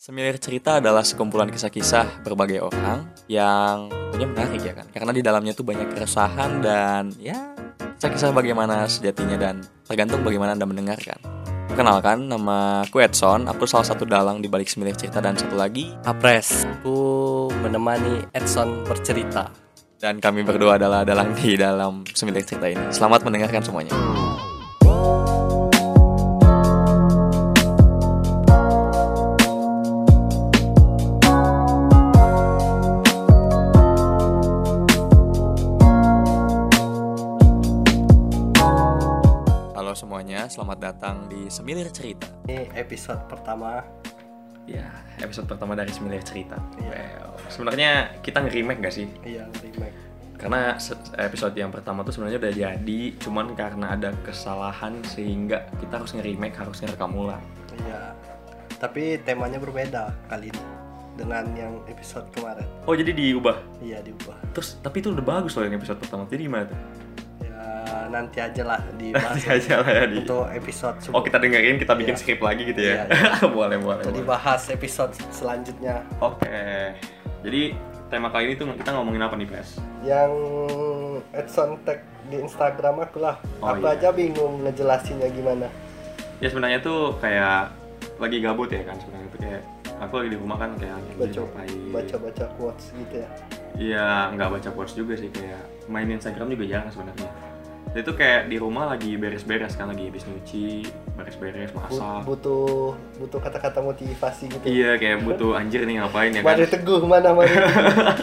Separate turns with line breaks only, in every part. Semilir cerita adalah sekumpulan kisah-kisah berbagai orang yang tentunya menarik ya kan. Karena di dalamnya tuh banyak keresahan dan ya kisah-kisah bagaimana sejatinya dan tergantung bagaimana Anda mendengarkan. Perkenalkan, nama aku Edson, aku salah satu dalang di balik semilir cerita dan satu lagi
Apres, aku menemani Edson bercerita.
dan kami berdua adalah dalang di dalam semilir cerita ini. Selamat mendengarkan semuanya. Halo semuanya, selamat datang di Semilir Cerita.
Ini episode pertama.
Ya, episode pertama dari Semilir Cerita.
Iya.
Well, sebenarnya kita nge-remake gak sih?
Iya, remake.
karena se- episode yang pertama tuh sebenarnya udah jadi cuman karena ada kesalahan sehingga kita harus nge-remake harus ngerekam ulang
Iya. Tapi temanya berbeda kali ini dengan yang episode kemarin.
oh jadi diubah
Iya, diubah.
terus tapi itu udah bagus loh yang episode pertama jadi gimana tuh
Ya, nanti aja lah dibahas
Nanti aja lah ya di
untuk episode
oh kita dengerin kita bikin
Iya.
skrip lagi gitu ya
Iya, iya.
boleh boleh,
Untuk
boleh.
dibahas episode selanjutnya
oke jadi tema kali ini tuh kita ngomongin apa nih pres
yang Edson tag di Instagram aku lah.
Oh,
aku
iya.
aja bingung ngejelasinnya gimana.
ya sebenarnya tuh kayak lagi gabut ya kan sebenarnya tuh kayak aku lagi di rumah kan kayak
Baca
ngapain.
baca baca quotes gitu ya.
Iya, nggak baca quotes juga sih kayak main Instagram juga jarang sebenarnya. Dan itu kayak di rumah lagi beres-beres kan lagi habis nyuci, beres-beres
Bu-
masak.
butuh butuh kata-kata motivasi gitu.
Iya, kayak butuh anjir nih ngapain ya kan.
Mari teguh mana mari.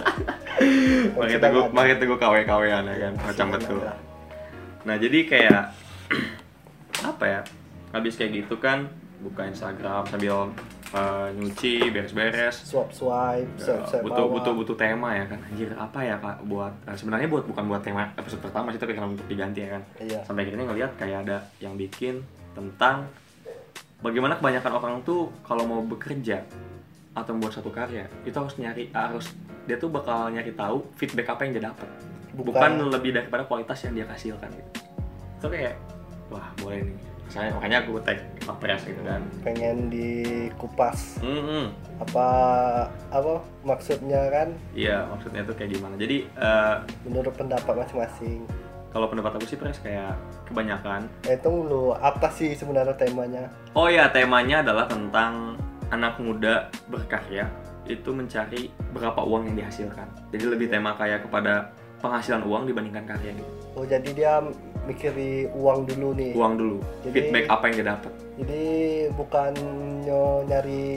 Mari
Kita
teguh,
nggak ada.
mari teguh KW-KW-an
Iya,
ya kan, macam
nggak
betul.
ada.
Nah, jadi kayak apa ya? Habis kayak gitu kan buka Instagram sambil eh, nyuci, beres-beres.
Swap swipe, swipe
Ya,
swipe
butuh
bawah.
butuh butuh tema ya kan anjir apa ya pak buat eh, sebenarnya buat bukan buat tema episode pertama sih tapi kalau untuk diganti ya kan
Iya.
sampai akhirnya ngelihat kayak ada yang bikin tentang bagaimana kebanyakan orang tuh kalau mau bekerja atau membuat satu karya itu harus nyari harus dia tuh bakal nyari tahu feedback apa yang dia dapat bukan,
Bukan-
lebih daripada kualitas yang dia hasilkan gitu. itu kayak wah boleh nih saya makanya aku tag Apres gitu kan
Pengen dikupas
Mm-mm.
apa apa maksudnya kan
Iya maksudnya tuh kayak gimana jadi eh,
menurut pendapat masing-masing.
kalau pendapat aku sih pres kayak kebanyakan
Eh, itu lu apa sih sebenarnya temanya?
oh ya temanya adalah tentang anak muda berkarya itu mencari berapa uang yang dihasilkan jadi lebih tema kayak kepada penghasilan uang dibandingkan karya gitu.
Oh jadi dia mikiri uang dulu nih.
uang dulu
Iya. Jadi-
feedback apa yang dia dapat
Jadi bukannya nyari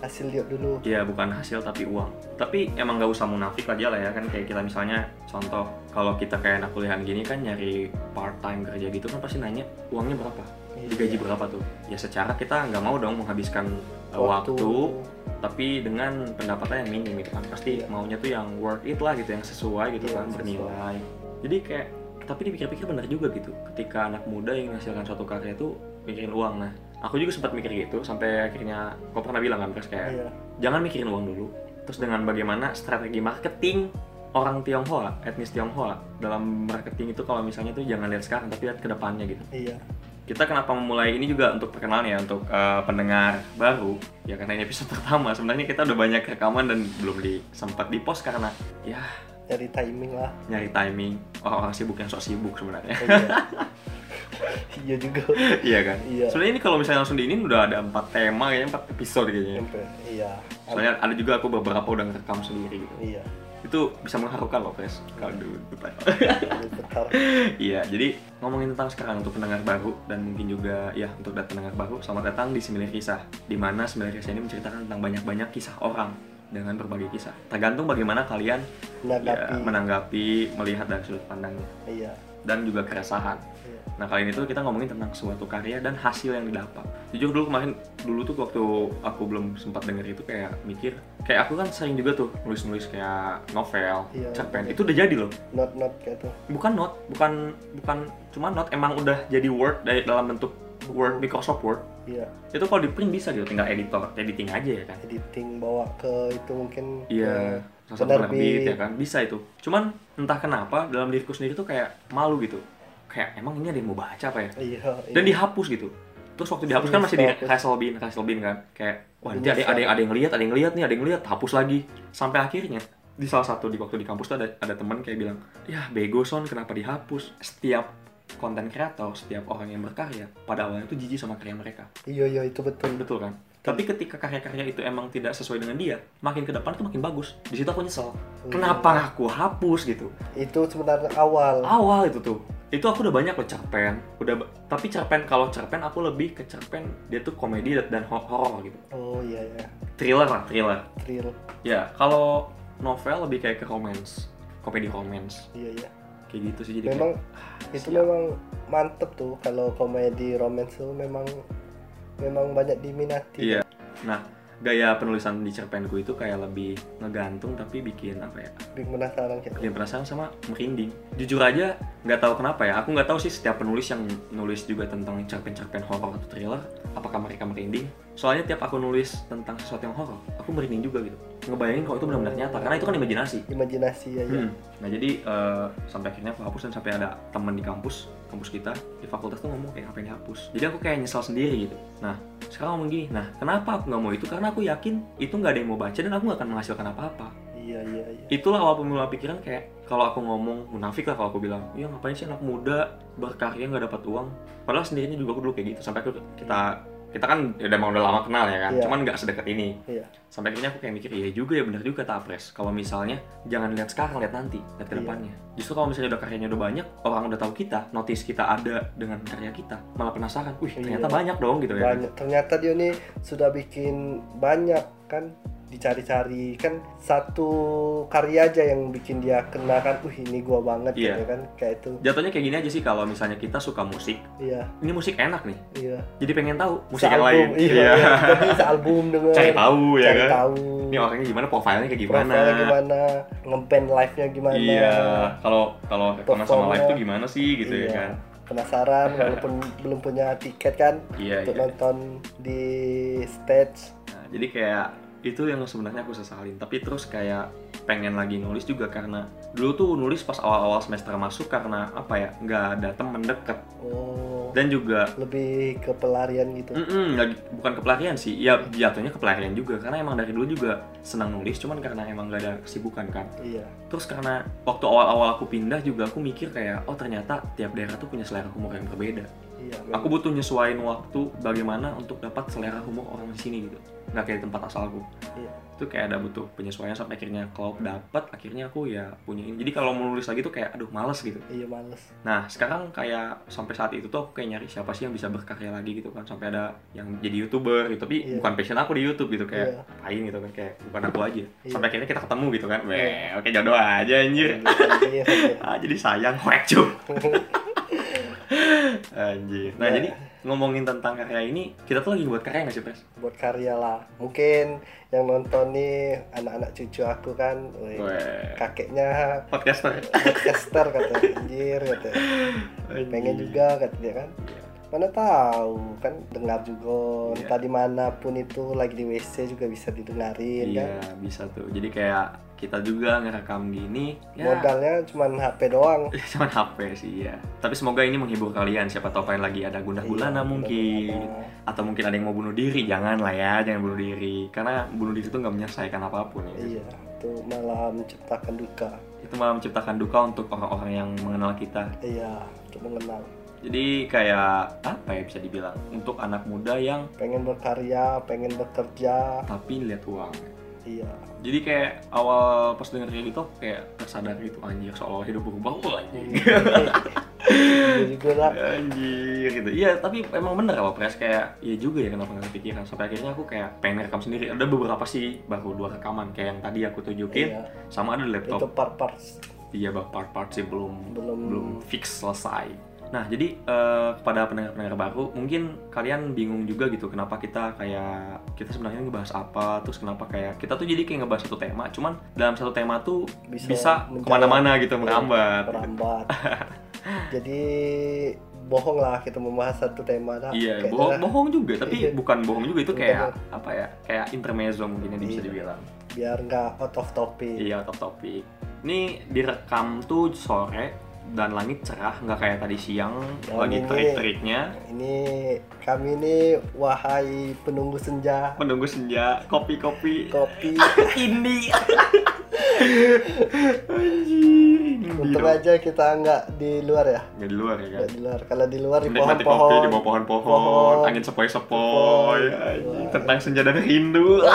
hasil dia dulu.
Iya bukan hasil tapi uang tapi emang gak usah munafik aja lah ya kan kayak kita misalnya contoh kalau kita kayak anak kuliahan gini kan nyari part time kerja gitu kan pasti nanya uangnya berapa digaji berapa tuh ya secara kita nggak mau dong menghabiskan uh, waktu tapi dengan pendapatan yang minim gitu kan pasti
Iya.
maunya tuh yang worth it lah gitu yang sesuai gitu
Iya,
kan
yang sesuai.
bernilai jadi kayak tapi dipikir-pikir benar juga gitu ketika anak muda yang menghasilkan suatu karya tuh mikirin uang nah aku juga sempat mikir gitu sampai akhirnya kau pernah bilang kan terus kayak
Iya.
jangan mikirin uang dulu terus dengan bagaimana strategi marketing orang Tionghoa etnis Tionghoa dalam marketing itu kalau misalnya tuh jangan lihat sekarang tapi lihat ke depannya gitu
Iya.
kita kenapa memulai ini juga untuk perkenalan ya untuk eh, pendengar baru ya karena ini episode pertama sebenarnya kita udah banyak rekaman dan belum di sempat di post karena ya
Nyari timing lah.
nyari timing orang-orang sibuk yang sok sibuk sebenarnya
Iya. iya juga.
iya kan
Iya.
sebenarnya ini kalau misalnya langsung diinin udah ada empat tema kayaknya empat episode kayaknya
Sampai- Iya.
soalnya ada juga aku beberapa udah ngerekam sendiri gitu
Iya.
itu bisa mengharukan loh pres kalau dulu
Ini Bentar.
Iya, jadi ngomongin tentang sekarang untuk pendengar baru dan mungkin juga ya untuk dat- pendengar baru, selamat datang di Semilir Kisah. Di mana Semilir Kisah ini menceritakan tentang banyak-banyak kisah orang dengan berbagai kisah. Tergantung bagaimana kalian
Menanggapi.
ya, menanggapi, melihat dari sudut pandangnya
Iya.
dan juga keresahan.
Iya.
Nah kali ini tuh kita ngomongin tentang suatu karya dan hasil yang didapat. Jujur dulu kemarin dulu tuh waktu aku belum sempat denger itu kayak mikir kayak aku kan sering juga tuh nulis-nulis kayak novel,
Iya.
cerpen itu udah jadi loh
Not not kayak tuh.
bukan note bukan bukan cuma note emang udah jadi word dari dalam bentuk word Microsoft Word
Iya.
itu kalau di print bisa gitu tinggal editor editing aja ya kan
Editing bawa ke itu mungkin.
iya
ke-
salah satu
Penerbit.
penerbit ya kan bisa itu cuman entah kenapa dalam diriku sendiri tuh kayak malu gitu kayak emang ini ada yang mau baca apa ya
Iya.
dan
iya.
dihapus gitu terus waktu dihapus kan masih di Castle Bean, Castle Bean kan kayak wah nanti ada, ada yang ada yang lihat ada yang lihat nih ada yang lihat hapus lagi sampai akhirnya di salah satu di waktu di kampus tuh ada ada teman kayak bilang ya bego son kenapa dihapus setiap konten kreator setiap orang yang berkarya pada awalnya tuh jijik sama karya mereka
iya iya itu betul
betul kan tapi ketika karya-karya itu emang tidak sesuai dengan dia makin ke depan tuh makin bagus di situ aku nyesel kenapa aku hapus gitu
itu sebenarnya awal
awal itu tuh itu aku udah banyak loh cerpen udah ba- tapi cerpen kalau cerpen aku lebih ke cerpen dia tuh komedi dan hor- horor gitu
oh iya iya
thriller lah thriller
thrill
ya kalau novel lebih kayak ke romance komedi romance
iya iya
kayak gitu sih jadi kayak,
memang itu
siap.
memang mantep tuh kalau komedi romance tuh memang memang banyak diminati
iya nah gaya penulisan di cerpenku itu kayak lebih ngegantung tapi bikin apa ya
bikin penasaran kayak
bikin penasaran sama merinding jujur aja nggak tahu kenapa ya aku nggak tahu sih setiap penulis yang nulis juga tentang cerpen-cerpen horor atau thriller apakah mereka merinding soalnya tiap aku nulis tentang sesuatu yang horor aku merinding juga gitu ngebayangin kalau itu benar-benar nyata karena itu kan imajinasi
imajinasi ya, ya.
Hmm. Nah jadi eh, sampai akhirnya aku hapus dan sampai ada temen di kampus, kampus kita di fakultas tuh ngomong kayak ngapain dihapus. Jadi aku kayak nyesal sendiri gitu. Nah sekarang ngomong gini, nah kenapa aku nggak mau itu? Karena aku yakin itu nggak ada yang mau baca dan aku nggak akan menghasilkan apa-apa.
iya iya iya
Itulah awal pemula pikiran kayak kalau aku ngomong munafik lah kalau aku bilang, ya ngapain sih anak muda berkarya nggak dapat uang. Padahal sendirinya juga aku dulu kayak gitu sampai aku, kita kita kan ya emang udah lama kenal ya kan,
Iya.
cuman nggak sedekat ini
iya
sampai akhirnya aku kayak mikir iya juga ya bener juga tak pres kalau misalnya jangan lihat sekarang lihat nanti lihat ke
Iya.
depannya justru kalau misalnya udah karyanya udah banyak orang udah tahu kita notice kita ada dengan karya kita malah penasaran wih ternyata
Iya.
banyak dong gitu ya
banyak ternyata dia nih sudah bikin banyak kan dicari-cari kan satu karya aja yang bikin dia kena kan uh ini gua banget
Iya.
gitu kan kayak itu
jatuhnya kayak gini aja sih kalau misalnya kita suka musik
iya
ini musik enak nih
iya
jadi pengen tahu musik yang lain
Sealbum, iya, iya. Jadi sealbum dengan
cari tahu ya
cari
kan
tahu
ini orangnya gimana profilnya kayak gimana
profilnya gimana ngeband live nya gimana
iya kalau kalau rekaman sama
Performnya.
live tuh gimana sih gitu
Iya.
ya kan
penasaran walaupun belum punya tiket kan
iya
untuk
iya
nonton di stage
Nah, jadi kayak itu yang sebenarnya aku sesalin. Tapi terus kayak pengen lagi nulis juga karena dulu tuh nulis pas awal-awal semester masuk karena apa ya nggak ada temen deket
oh
dan juga
lebih ke pelarian gitu
mm-mm, nggak- bukan kepelarian sih ya jatuhnya kepelarian juga karena emang dari dulu juga senang nulis cuman karena emang nggak ada kesibukan kan
iya
terus karena waktu awal-awal aku pindah juga aku mikir kayak oh ternyata tiap daerah tuh punya selera humor yang berbeda
iya
aku butuh nyesuaiin waktu bagaimana untuk dapat selera humor orang di sini gitu nggak kayak di tempat asalku
Iya.
itu kayak ada butuh penyesuaian sampai akhirnya kalau dapat akhirnya aku ya punyain jadi kalau mau nulis lagi tuh kayak aduh males gitu
iya males
nah sekarang kayak sampai saat itu tuh aku kayak nyari siapa sih yang bisa berkarya lagi gitu kan sampai ada yang jadi youtuber gitu tapi
Iya.
bukan passion aku di YouTube gitu kayak
Iya.
ngapain gitu kan kayak bukan aku aja
Iya.
sampai akhirnya kita ketemu gitu kan Weh,
Iya.
oke jodoh aja anjir
Iya, iya.
ah jadi sayang hoek cuy anjir nah
Ya.
jadi ngomongin tentang karya ini kita tuh lagi buat karya nggak sih pres
buat karya lah mungkin yang nonton nih anak-anak cucu aku kan weh,
Weh,
kakeknya
podcaster
podcaster katanya anjir katanya pengen
Anjir.
juga katanya kan
Iya.
mana tahu kan dengar juga
Iya.
entah dimanapun itu lagi di WC juga bisa didengarin
Iya
kan
bisa tuh. Jadi kayak kita juga ngerekam gini ya
modalnya cuman HP doang
cuman HP sih ya. Tapi semoga ini menghibur kalian. Siapa tahu kalian lagi ada gundah gulana
Iya,
mungkin
mudah-mudahan.
atau mungkin ada yang mau bunuh diri. Jangan lah ya, jangan bunuh diri. Karena bunuh diri itu nggak menyelesaikan apapun ya.
iya itu malah menciptakan duka
Itu malah menciptakan duka untuk orang-orang yang mengenal kita.
iya untuk mengenal
Jadi kayak apa ya bisa dibilang untuk anak muda yang
pengen berkarya pengen bekerja
tapi lihat uang.
iya
Jadi kayak awal pas denger kayak gitu kayak tersadar gitu anjir seolah hidup berubah. Wah, anjir.
Iya juga lah
Anjir gitu. Iya, tapi emang bener apa Pres kayak iya juga ya kenapa nggak kepikiran. Sampai akhirnya aku kayak pengen rekam sendiri. Ada beberapa sih baru dua rekaman kayak yang tadi aku tunjukin
Iya,
sama ada di
itu
laptop.
part-part
Iya, bang part-part sih belum
belum
belum fix selesai. Nah, jadi eh, kepada pendengar-pendengar baru, mungkin kalian bingung juga gitu kenapa kita kayak kita sebenarnya ngebahas apa, terus kenapa kayak kita tuh jadi kayak ngebahas satu tema, cuman dalam satu tema tuh bisa,
menjawab Iya,
kemana-mana gitu merambat.
merambat jadi bohong lah kita membahas satu tema lah
Iya,
Kayaknya
bohong,
lah
bohong juga, tapi
Iya.
bukan bohong juga itu
Bukan
kayak apa ya? Kayak intermezzo mungkin yang bisa
Iya.
dibilang.
biar nggak out of topic
Iya, top topik. Ini direkam tuh sore dan langit cerah nggak kayak tadi siang
Yang
lagi
ini-
terik-teriknya
Ini kami ini wahai penunggu senja
menunggu senja kopi-kopi
kopi.
ini anjir ini
Untung
dong.
aja kita nggak di luar ya.
nggak di luar ya kan
Nggak di luar. Kalau di luar di
Menikmati kopi
pohon-pohon.
di bawah pohon-pohon,
Pohon.
angin sepoi-sepoi,
Sepoi.
anjing.
Wah.
tentang senja dan rindu.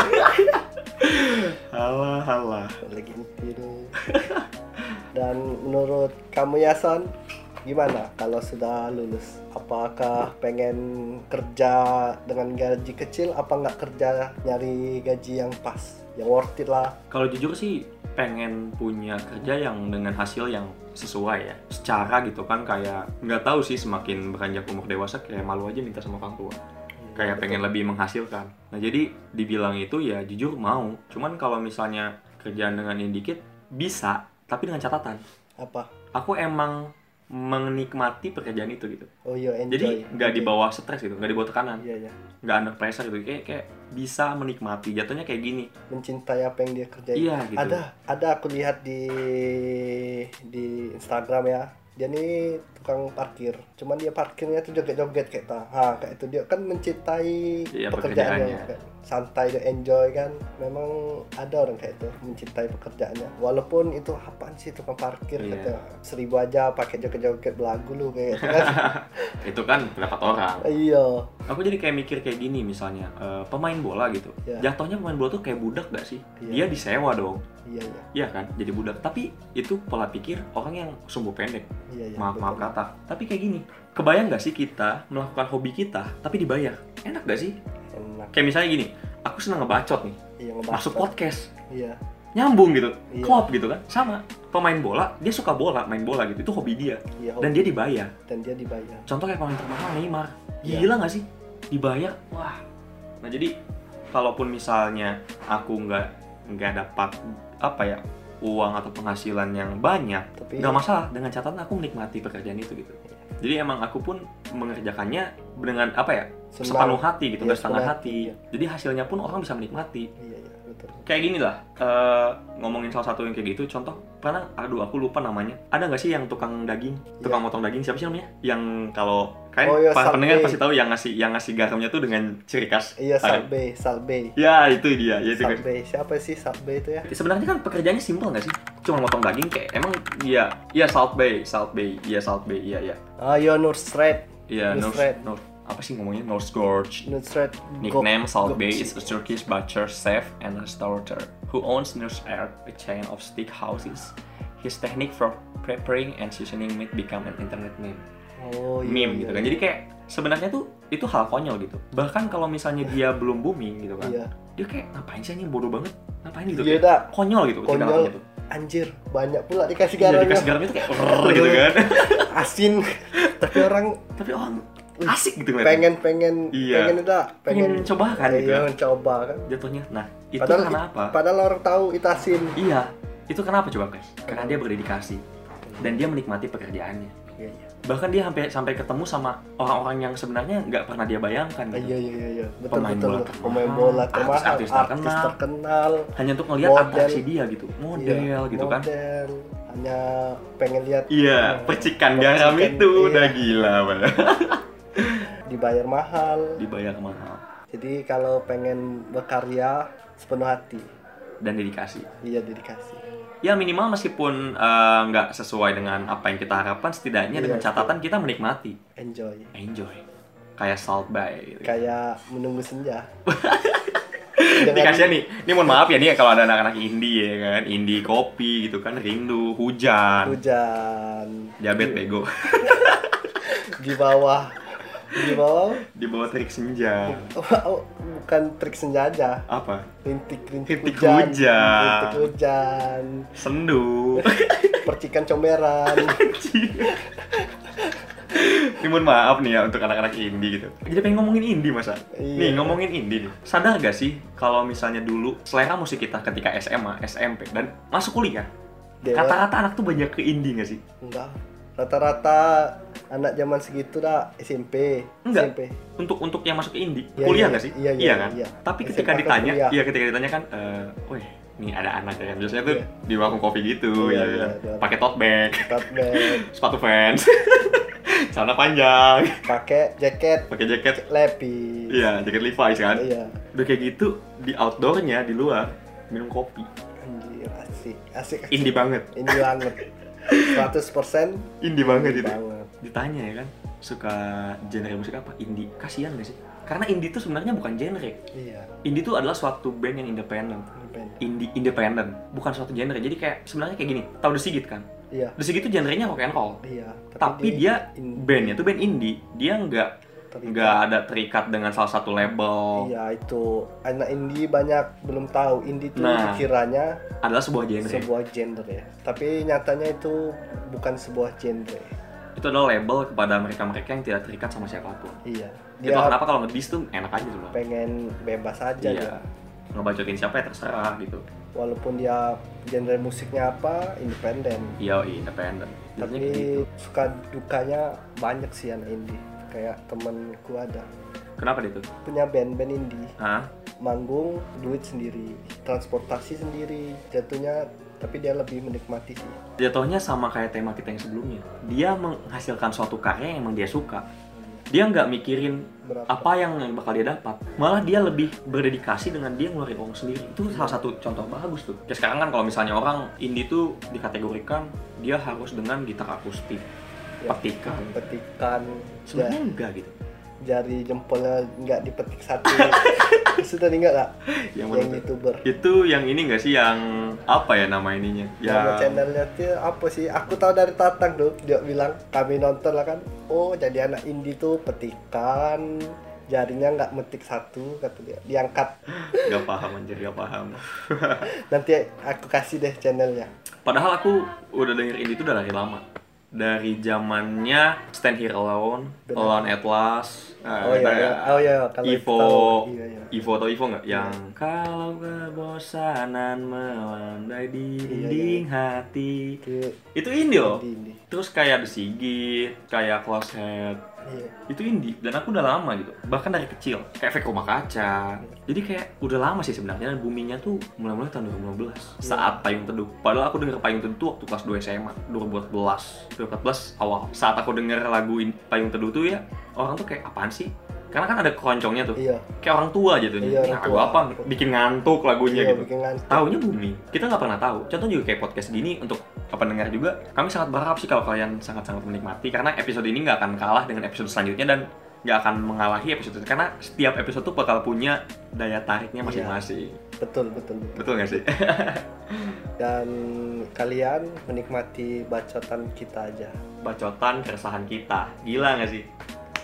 halah, halah.
Lagi mimpi nih. Dan menurut kamu Yason, gimana kalau sudah lulus? Apakah pengen kerja dengan gaji kecil? Apa nggak kerja nyari gaji yang pas, yang worth it lah?
Kalau jujur sih pengen punya kerja yang dengan hasil yang sesuai ya secara gitu kan kayak nggak tahu sih semakin beranjak umur dewasa kayak malu aja minta sama orang tua kayak pengen lebih menghasilkan nah jadi dibilang itu ya jujur mau cuman kalau misalnya kerjaan dengan ini dikit bisa tapi dengan catatan
apa?
aku emang menikmati pekerjaan itu gitu
Oh iya,
jadi
enjoy.
nggak di bawah stres gitu nggak di bawah tekanan
Iya ya,
nggak under pressure gitu kayak kayak bisa menikmati jatuhnya kayak gini
mencintai apa yang dia kerjain.
iya gitu
Ada, ada aku lihat di di Instagram ya. Dia nih tukang parkir. Cuman dia parkirnya tuh joget-joget kayak ta. Ha, kayak itu dia kan mencintai
Iya,
pekerjaannya.
pekerjaannya.
Santai dia enjoy kan. Memang ada orang kayak itu mencintai pekerjaannya. Walaupun itu apaan sih tukang parkir
Iya.
katanya. Seribu aja pakai joget-joget belagu lu kayak gitu kan.
itu kan pendapat orang
iya.
aku jadi kayak mikir kayak gini misalnya eh, pemain bola gitu
Iya.
jatuhnya pemain bola tuh kayak budak gak sih
Iya.
dia disewa dong
Iya, iya.
iya kan jadi budak tapi itu pola pikir orang yang sumbu pendek
Iya, iya.
maaf maaf
betul.
kata tapi kayak gini kebayang gak sih kita melakukan hobi kita tapi dibayar enak gak sih
Enak.
kayak misalnya gini aku senang ngebacot nih
Iya, ngebahas.
masuk podcast
Iya.
nyambung gitu
Iya.
klop gitu kan sama pemain bola dia suka bola main bola gitu itu hobi dia
Iya,
dan dia dibayar
dan dia dibayar.
contoh kayak pemain termahal Neymar
Iya.
gila nggak sih dibayar wah nah jadi kalaupun misalnya aku nggak nggak dapat apa ya uang atau penghasilan yang banyak
Tapi
nggak masalah dengan catatan aku menikmati pekerjaan itu gitu
Iya.
jadi emang aku pun mengerjakannya dengan apa ya
senang.
separuh hati gitu
Iya,
nggak setengah
senang.
hati
Iya.
jadi hasilnya pun orang bisa menikmati
Iya, iya, betul.
kayak gini lah eh, ngomongin salah satu yang kayak gitu contoh pernah aduh aku lupa namanya ada nggak sih yang tukang daging tukang motong daging siapa sih namanya yang kalau kan
Iya. Oh, iya,
para
Salbe.
pendengar pasti tahu yang ngasih yang ngasih garamnya tuh dengan ciri khas
Iya,
Ada.
Salbe, Salbe.
ya itu dia ya itu guys.
Salbe. Siapa sih Salbe itu ya?
sebenarnya kan pekerjaannya simpel nggak sih cuma motong daging kayak emang iya iya South Bay South Bay iya South Bay iya iya
Ayo Nusret.
iya
Terus
North,
Red.
North- apa sih ngomongnya North Gorge
Nusret. Gok-
Nickname South Bay
Gokci.
is a Turkish butcher, chef, and restaurateur who owns Nurse Air, a chain of steak houses. His technique for preparing and seasoning meat become an internet meme.
Oh, iya,
meme
iya,
gitu kan.
iya.
Jadi kayak sebenarnya tuh itu hal konyol gitu. Bahkan kalau misalnya dia belum booming gitu kan,
Iya.
dia kayak ngapain sih ini bodoh banget? Ngapain gitu?
Iya,
Kayak
dak.
konyol gitu.
Konyol.
tindakannya tuh.
Anjir, banyak pula dikasih
Iya,
garamnya.
dikasih garam itu kayak "Rrrr" gitu kan.
Asin. Tapi orang
Tapi orang asik gitu ngeliatnya.
pengen pengen
Iya.
pengen udah pengen
Pengen coba kan gitu.
Iya, coba kan.
Jatuhnya. Nah, itu
Padahal-
kenapa?
Padahal orang tahu itu asin.
Iya, itu kenapa coba guys? Karena dia berdedikasi dan dia menikmati pekerjaannya.
Iya, iya.
Bahkan dia sampai sampai ketemu sama orang-orang yang sebenarnya nggak pernah dia bayangkan gitu.
Iya, iya, iya, iya. Betul,
Pemain
betul.
bola
betul.
terkenal,
Pemain bola terkenal,
artis-artis terkenal.
terkenal.
Hanya untuk ngelihat
Model.
atraksi dia gitu, model
Iya,
gitu kan.
model. Hanya pengen lihat
Iya,
Iya.
percikan garam
Percikan,
itu
iya.
udah gila padahal.
dibayar mahal.
Dibayar mahal
Jadi kalau pengen berkarya sepenuh hati,
dan dedikasi.
iya dedikasi.
Ya minimal meskipun eh, nggak sesuai dengan apa yang kita harapkan, setidaknya
Iya,
dengan catatan kita menikmati,
Enjoy.
enjoy. Kayak salt bay gitu.
Kayak menunggu senja.
Ini
Dengan
kasihan nih, ini mohon maaf ya nih kalau ada anak-anak indie ya kan, indie kopi gitu kan, rindu, hujan,
hujan
diabetes bego,
di bawah di bawah
di bawah terik senja,
oh, bukan trik senja aja
apa,
rintik rintik
Rintik
hujan,
hujan.
rintik hujan
sendu,
percikan comberan
ini mohon maaf nih ya untuk anak-anak indie gitu. Jadi pengen ngomongin indie masa? Nih
Iya.
ngomongin indie nih, sadar gak sih kalau misalnya dulu selera musik kita ketika SMA, SMP dan masuk kuliah,
Dewa.
rata-rata anak tuh banyak ke indie gak sih?
enggak rata-rata anak zaman segitu dah SMP
Enggak.
SMP
untuk untuk yang masuk ke indie
Iya,
kuliah
iya,
nggak sih
iya, iya,
kan
iya.
tapi
SMA
ketika
kan
ditanya
kuliah.
iya ketika ditanya kan eh weh nih ada anak ya kan biasanya tuh
Iya.
di warung kopi gitu ya
Iya, iya,
kan
iya.
pakai tote bag
Tote bag,
sepatu fans celana panjang
pakai jaket
pakai jaket
lepi.
iya jaket Levi's kan
Iya.
udah kayak gitu di outdoornya di luar minum kopi
Anjir, asik, asik.
indie banget
Ini banget. 100% persen
indie banget itu
banget.
ditanya ya kan suka genre musik apa indie kasihan gak sih karena indie itu sebenarnya bukan genre
Iya,
indie itu adalah suatu band yang independen
independen.
indie independen bukan suatu genre jadi kayak sebenarnya kayak gini tahu The Sigit kan
Iya,
The Sigit itu genrenya rock and roll
iya.
tapi dia
in-
bandnya tuh band indie dia nggak
terikat.
nggak ada terikat dengan salah satu label
Iya, itu anak indie banyak belum tahu. Indie itu
Nah.
kiranya
adalah sebuah genre
sebuah genre ya. Tapi nyatanya itu bukan sebuah genre.
itu adalah label kepada mereka-mereka yang tidak terikat sama siapapun
Iya.
itu
Dia
kenapa kalau ngedis tuh enak aja tuh loh
pengen bebas aja
iya
ya.
ngebacotin siapa ya terserah gitu
Walaupun dia genre musiknya apa, independen.
iya independen Jadinya
tapi
kayak gitu.
suka dukanya banyak sih anak indie kayak temenku ada
kenapa dia tuh
punya band-band indie
Hah?
manggung duit sendiri transportasi sendiri jatuhnya tapi dia lebih menikmati sih
jatuhnya sama kayak tema kita yang sebelumnya dia menghasilkan suatu karya yang emang dia suka dia nggak mikirin
berapa
apa yang bakal dia dapat malah dia lebih berdedikasi dengan dia ngeluarin uang sendiri itu salah satu contoh bagus tuh ya sekarang kan kalau misalnya orang indie tuh dikategorikan dia harus dengan gitar akustik
Ya.
petikan
petikan
sebenarnya enggak gitu
jari jempolnya nggak dipetik satu sudah ingat nggak
yang
yang,
menurut
youtuber
itu yang ini nggak sih yang apa ya nama ininya
Nama
ya
channelnya tuh apa sih? Aku tahu dari Tatang tuh dia bilang kami nonton lah kan. Oh jadi anak indie tuh petikan jarinya nggak metik satu kata dia diangkat
nggak paham anjir nggak paham
nanti aku kasih deh channelnya
Padahal aku udah denger indie itu udah dari lama. Dari zamannya Stand Here Alone,
Benar.
Alone at Last, eh,
oh iya
bentar
iya.
ya.
oh iya kalau
Ivo,
tahu, iya, iya.
Ivo atau Ivo nggak? Yang kalau kebosanan melandai
Iya,
di dinding hati.
itu
Itu indie loh.
indie indie
Terus kayak The Sigit, kayak Close Head.
iya
Itu indie dan aku udah lama gitu. Bahkan dari kecil, kayak efek rumah kaca. Jadi kayak udah lama sih sebenarnya dan boomingnya tuh mulai-mulai tahun 2015
Iya.
saat Payung Teduh. Padahal aku denger Payung Teduh tuh waktu kelas 2 SMA, 2014. 2014 awal. Saat aku denger lagu in- Payung Teduh tuh ya, orang tuh kayak apaan sih? Karena kan ada keroncongnya tuh.
iya
Kayak orang tua aja tuh.
Iya, orang
lagu
tua.
apa? Bikin ngantuk lagunya
iya
gitu.
bikin ngantuk.
Taunya booming. Kita nggak pernah tahu. Contoh juga kayak podcast gini untuk pendengar juga, kami sangat berharap sih kalau kalian sangat-sangat menikmati karena episode ini nggak akan kalah dengan episode selanjutnya dan nggak akan mengalahi episode itu karena setiap episode tuh bakal punya daya
Iya.
tariknya masing-masing.
betul betul betul
Betul nggak sih?
dan kalian menikmati bacotan kita aja
Bacotan keresahan kita. Gila nggak sih?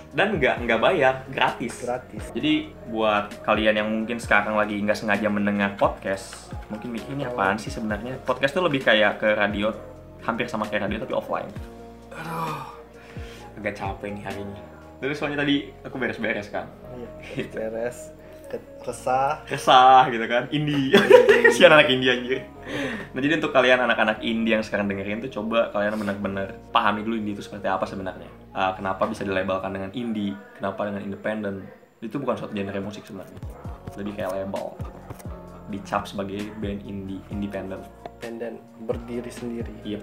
Dan nggak nggak bayar, gratis.
gratis
Jadi buat kalian yang mungkin sekarang lagi nggak sengaja mendengar podcast, mungkin mikirnya apaan sih sebenarnya? Podcast tuh lebih kayak ke radio, hampir sama kayak radio tapi offline. Aduh, agak capek nih hari ini. Terus soalnya tadi aku beres-beres kan,
iya
Gitu.
beres ke- resah
resah gitu kan, indie. Sian anak indie anjir. Nah jadi untuk kalian anak-anak indie yang sekarang dengerin tuh coba kalian benar-benar pahami dulu indie itu seperti apa sebenarnya. Ah, kenapa bisa dilabelkan dengan indie, kenapa dengan independen. Itu bukan suatu genre musik sebenarnya. Lebih kayak label. Dicap sebagai band indie, independen.
dan dan berdiri sendiri
Iya,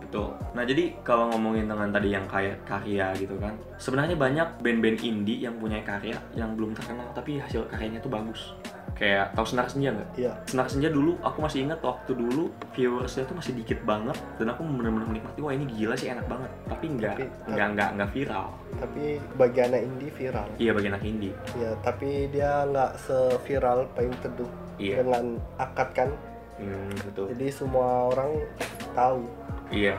betul. Nah, jadi kalau ngomongin dengan tadi yang kayak karya gitu kan, sebenarnya banyak band-band indie yang punya karya yang belum terkenal tapi hasil karyanya tuh bagus. Kayak tahu Senar Senja nggak?
iya
Senar Senja dulu aku masih ingat waktu dulu viewersnya tuh masih dikit banget dan aku benar-benar menikmati wah ini gila sih enak banget tapi nggak
Tapi-
nggak nggak nggak viral
tapi bagi anak indie viral
iya bagi anak indie
ya tapi dia nggak seviral payung teduh
iya
dengan akad kan
Hmm, betul
jadi semua orang tahu
Iya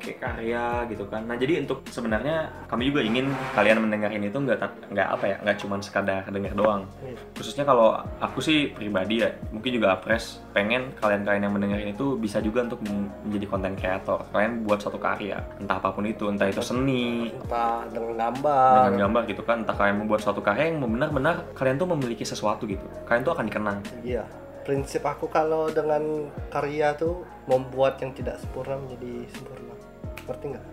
kayak karya gitu kan. Nah jadi untuk sebenarnya kami juga ingin kalian mendengar ini tuh nggak tat- nggak apa ya nggak cuman sekadar dengar doang.
Iya.
Khususnya kalau aku sih pribadi ya mungkin juga apres pengen kalian-kalian yang mendengar ini tuh bisa juga untuk men- menjadi konten kreator. Kalian buat satu karya entah apapun itu entah itu seni
entah dengan gambar
dengan gambar gitu kan entah kalian membuat suatu karya yang benar-benar kalian tuh memiliki sesuatu gitu. Kalian tuh akan dikenang.
iya prinsip aku kalau dengan karya tuh membuat yang tidak sempurna menjadi sempurna ngerti nggak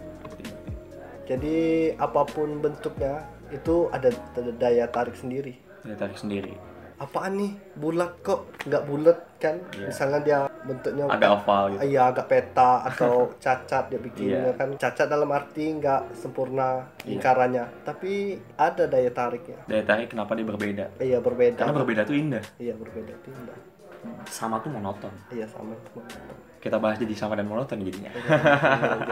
jadi apapun bentuknya itu ada, ada daya tarik sendiri
Daya tarik sendiri.
apaan nih bulat kok nggak bulat kan
Iya.
misalnya dia bentuknya
agak oval gitu
Iya agak peta atau cacat dia bikinnya
Iya.
kan cacat dalam arti nggak sempurna
Iya.
lingkarannya tapi ada daya tariknya
daya tarik kenapa dia berbeda
iya berbeda
karena berbeda tuh indah
iya berbeda itu indah
sama tuh monoton
iya sama
kita bahas jadi sama dan monoton jadinya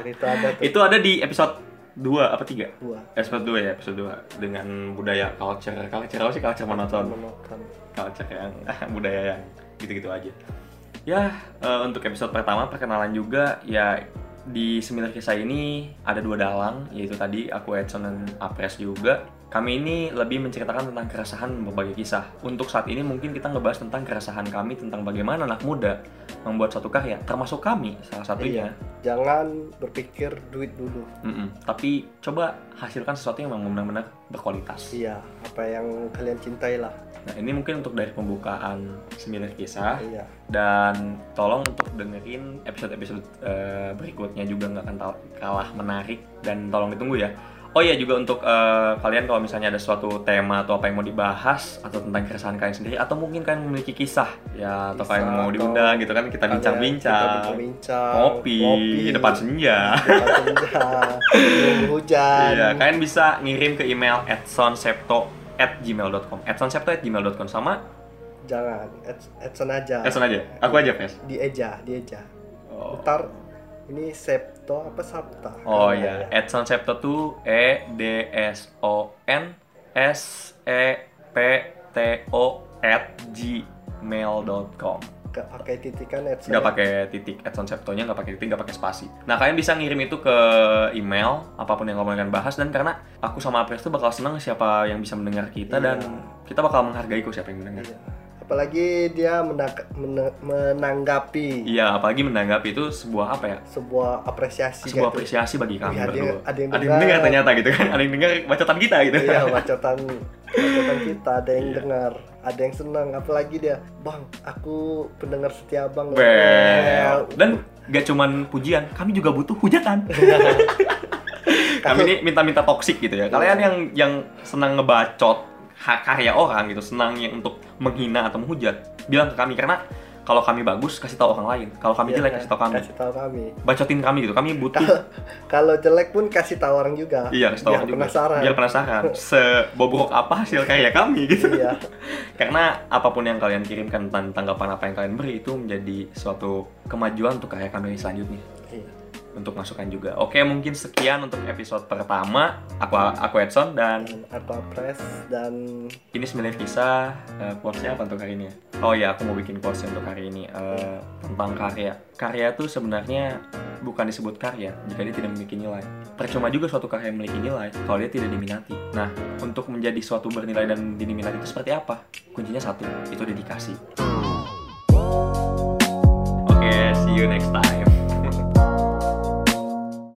jadi itu ada tuh
itu ada di episode 2 apa 3?
dua
episode 2 ya episode 2 dengan budaya culture culture apa sih culture monoton
monoton
culture yang ya, budaya yang gitu-gitu aja. Ya, eh, untuk episode pertama perkenalan juga ya di seminar kisah ini ada dua dalang yaitu tadi aku Edson dan Apres juga. Kami ini lebih menceritakan tentang keresahan berbagai kisah. Untuk saat ini mungkin kita ngebahas tentang keresahan kami tentang bagaimana anak muda membuat satu karya, termasuk kami salah
Iya.
satunya.
jangan berpikir duit dulu
Mm-mm. Tapi coba hasilkan sesuatu yang memang benar-benar berkualitas.
iya apa yang kalian cintai lah
Nah ini mungkin untuk dari pembukaan seminar kisah.
iya
dan tolong untuk dengerin episode-episode eh, berikutnya juga nggak akan tal- kalah menarik dan tolong ditunggu ya oh iya juga untuk eh, kalian kalau misalnya ada suatu tema atau apa yang mau dibahas atau tentang keresahan kalian sendiri atau mungkin kalian memiliki kisah ya atau
Kisah
kalian mau
atau
diundang gitu kan kita
Kalian- kita
bincang-bincang
bincang-bincang
kopi, di depan senja
depan senja nunggu hujan
Iya, kalian bisa ngirim ke email edsonsepto@gmail.com. edsonsepto@gmail.com sama
jangan Ed- Edson aja
Edson aja. Aku aja, Pes.
dieja dieja
Oh.
ntar ini Septo apa Sabta
Oh
Karena
iya, Edson Septo tuh E D S O N S E P T O at gmail.com.
nggak pakai titikan Edson
Nggak pakai titik, Edson Septonya nggak pakai titik, nggak pakai spasi. Nah kalian bisa ngirim itu ke email apapun yang kamu akan bahas dan karena aku sama Apres tuh bakal seneng siapa yang bisa mendengar kita
Iya.
dan kita bakal menghargai kok siapa yang mendengar.
Iya. apalagi dia menang- mena- menanggapi
Iya, apalagi menanggapi itu sebuah apa ya?
sebuah apresiasi
Sebuah
kayak gitu.
apresiasi bagi kami
Iya, ada yang-
berdua.
ada yang
dengar
dengar.
ternyata gitu kan, ada yang dengar bacotan kita gitu.
iya bacotan bacotan kita ada yang
Iya.
dengar ada yang senang apalagi dia bang aku pendengar setia bang
Bel. Dan gak cuman pujian, kami juga butuh hujatan. kami
Iya,
ini minta-minta toksik gitu ya. Kalian yang yang senang ngebacot hak karya orang gitu, senang yang untuk menghina atau menghujat, bilang ke kami karena kalau kami bagus kasih tahu orang lain, kalau kami
Iya,
jelek kasih tahu kami.
kasih tahu kami
Bacotin kami gitu, kami butuh
Kalau- kalau jelek pun kasih tahu orang juga
iya kasih tahu
biar
orang juga.
penasaran
Biar penasaran sebobrok apa hasil karya kami gitu.
iya
Karena apapun yang kalian kirimkan tentang tanggapan apa yang kalian beri itu menjadi suatu kemajuan untuk karya kami selanjutnya.
Iya.
untuk masukan juga. Oke, mungkin sekian untuk episode pertama. Aku aku Edson dan
dan atau press dan
ini sembilan kisah. Eh, quotes-nya apa untuk hari ini? ya? Oh ya, aku mau bikin quotes untuk hari ini Eh, tentang karya. Karya itu sebenarnya bukan disebut karya jika dia tidak memiliki nilai. Percuma juga suatu karya memiliki nilai kalau dia tidak diminati. Nah, untuk menjadi suatu bernilai dan diminati itu seperti apa? Kuncinya satu, itu dedikasi. Oke, see you next time.